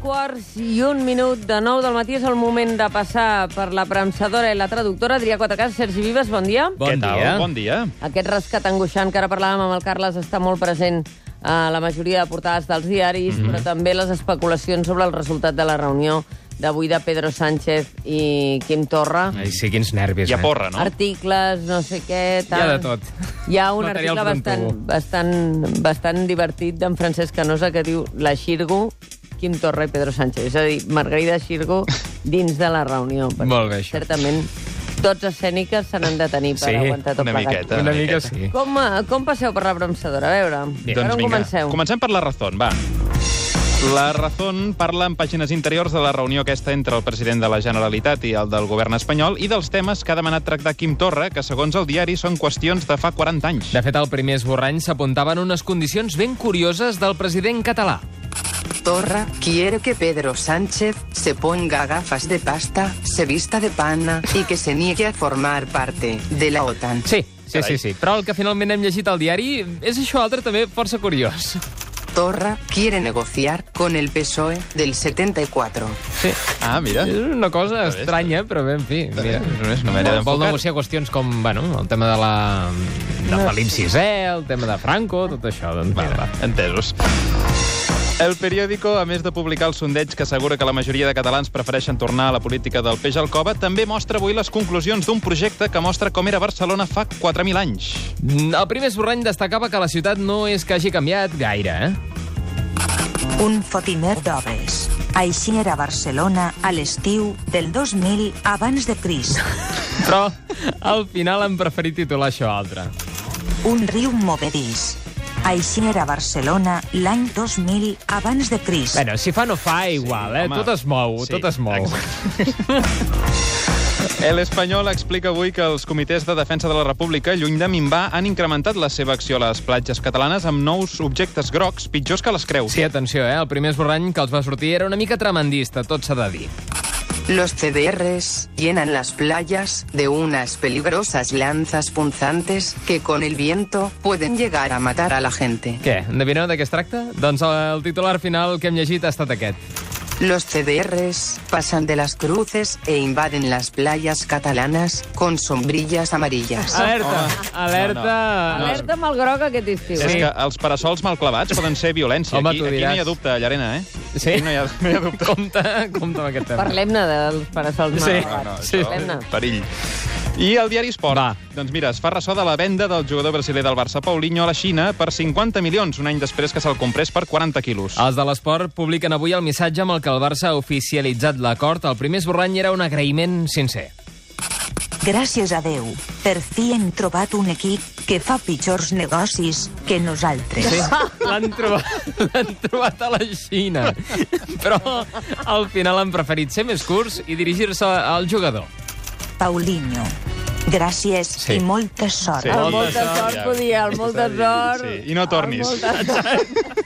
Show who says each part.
Speaker 1: quarts i un minut de nou del matí. És el moment de passar per la premsadora i la traductora. Adrià Quatrecas, Sergi Vives, bon dia.
Speaker 2: Bon
Speaker 3: Què tal?
Speaker 2: dia.
Speaker 3: Bon dia.
Speaker 1: Aquest rescat angoixant que ara parlàvem amb el Carles està molt present a la majoria de portades dels diaris, mm -hmm. però també les especulacions sobre el resultat de la reunió d'avui de Pedro Sánchez i Quim Torra.
Speaker 2: Ai, sí, quins nervis, eh?
Speaker 3: I a porra,
Speaker 1: No?
Speaker 3: no?
Speaker 1: Articles, no sé què...
Speaker 2: Hi
Speaker 1: Tal.
Speaker 2: ha de tot.
Speaker 1: Hi ha un
Speaker 2: Material
Speaker 1: article
Speaker 2: frontugo.
Speaker 1: bastant, bastant, bastant divertit d'en Francesc Canosa que diu la Xirgo, Quim Torra i Pedro Sánchez. És a dir, Margarida Xirgo dins de la reunió. perquè
Speaker 2: Molt bé, això.
Speaker 1: Certament, tots escèniques se n'han de tenir per
Speaker 2: Sí,
Speaker 1: aguantar tot
Speaker 3: una
Speaker 1: plegat.
Speaker 3: miqueta.
Speaker 2: Una mica sí.
Speaker 1: Com, eh, com passeu per la bromsadora? A veure, Bé, per on
Speaker 2: doncs
Speaker 1: comenceu?
Speaker 3: Doncs Comencem per la Razón, va. La Razón parla en pàgines interiors de la reunió aquesta entre el president de la Generalitat i el del govern espanyol i dels temes que ha demanat tractar Quim Torra, que segons el diari són qüestions de fa 40 anys.
Speaker 2: De fet, al primer esborrany s'apuntaven unes condicions ben curioses del president català.
Speaker 4: Torra quiere que Pedro Sánchez se ponga gafas de pasta, se vista de pana y que se niegue a formar parte de la OTAN.
Speaker 2: Sí, sí, sí,
Speaker 3: Carai.
Speaker 2: sí. Però el que finalment hem llegit al diari és això altre també força curiós.
Speaker 4: Torra quiere negociar con el PSOE E del 74.
Speaker 2: Sí.
Speaker 3: Ah, mira.
Speaker 2: És una cosa
Speaker 3: bé,
Speaker 2: estranya, però bé, en fi, mira.
Speaker 3: No és una manera
Speaker 2: Vol, vol
Speaker 3: d'enfocar.
Speaker 2: negociar qüestions com, bueno, el tema de la... de Felip VI, el tema de Franco, tot això, doncs
Speaker 3: Va,
Speaker 2: mira.
Speaker 3: va, entesos. El periòdico, a més de publicar el sondeig que assegura que la majoria de catalans prefereixen tornar a la política del peix al cova, també mostra avui les conclusions d'un projecte que mostra com era Barcelona fa 4.000 anys.
Speaker 2: El primer esborrany destacava que la ciutat no és que hagi canviat gaire, eh?
Speaker 5: Un fotimer d'obres. Així era Barcelona a l'estiu del 2000 abans de Crist.
Speaker 2: Però al final han preferit titular això altre.
Speaker 5: Un riu movedís. Així era Barcelona l'any 2000 abans de Crist.
Speaker 2: Bueno, si fa no fa, igual, eh?
Speaker 3: home.
Speaker 2: tot es mou,
Speaker 3: Sí,
Speaker 2: tot es mou.
Speaker 3: El Espanyol explica avui que els comitès de defensa de la República, lluny de minvar, han incrementat la seva acció a les platges catalanes amb nous objectes grocs pitjors que les creus.
Speaker 2: Sí, atenció, eh? El primer esborrany que els va sortir era una mica tremendista, tot s'ha de dir.
Speaker 4: Los CDRs llenan las playas de unas peligrosas lanzas punzantes que con el viento pueden llegar a matar a la gente.
Speaker 2: Què, endevineu de què es tracta? Doncs el titular final que hem llegit ha estat aquest.
Speaker 4: Los CDRs pasan de las cruces e invaden las playas catalanas con sombrillas amarillas.
Speaker 2: Alerta,
Speaker 3: Home.
Speaker 2: alerta...
Speaker 1: Alerta amb el groc aquest estiu. eh?
Speaker 3: És
Speaker 2: Sí.
Speaker 3: que els parasols mal clavats poden ser violència.
Speaker 2: Home,
Speaker 3: aquí,
Speaker 2: tu
Speaker 3: aquí no
Speaker 2: diràs.
Speaker 3: hi ha dubte, Llarena, eh?
Speaker 2: Sí?
Speaker 3: Aquí no hi ha, no hi ha dubte.
Speaker 2: Compte, compte amb aquest tema.
Speaker 1: Parlem-ne dels parasols
Speaker 2: Sí.
Speaker 1: mal
Speaker 3: No,
Speaker 1: agafats.
Speaker 2: Sí.
Speaker 3: això,
Speaker 1: Parlem-ne.
Speaker 3: Perill. I el diari Esport.
Speaker 2: Va.
Speaker 3: Doncs mira, es fa ressò de la venda del jugador brasiler del Barça, Paulinho, a la Xina per 50 milions, un any després que se'l comprés per 40 quilos.
Speaker 2: Els de l'esport publiquen avui el missatge amb el que el Barça ha oficialitzat l'acord. El primer esborrany era un agraïment sincer.
Speaker 5: Gràcies a Déu, per fi hem trobat un equip que fa pitjors negocis que nosaltres.
Speaker 2: Sí, l'han trobat, l'han trobat a la Xina. Però al final han preferit ser més curts i dirigir-se al jugador.
Speaker 5: Paulinho, gràcies
Speaker 2: Sí.
Speaker 5: i molta sort.
Speaker 3: Sí.
Speaker 1: El
Speaker 3: Molta
Speaker 1: molta
Speaker 3: sort,
Speaker 1: sort,
Speaker 3: ja.
Speaker 1: podia, el molta sort.
Speaker 3: Sí, i no tornis.
Speaker 1: El molta sort.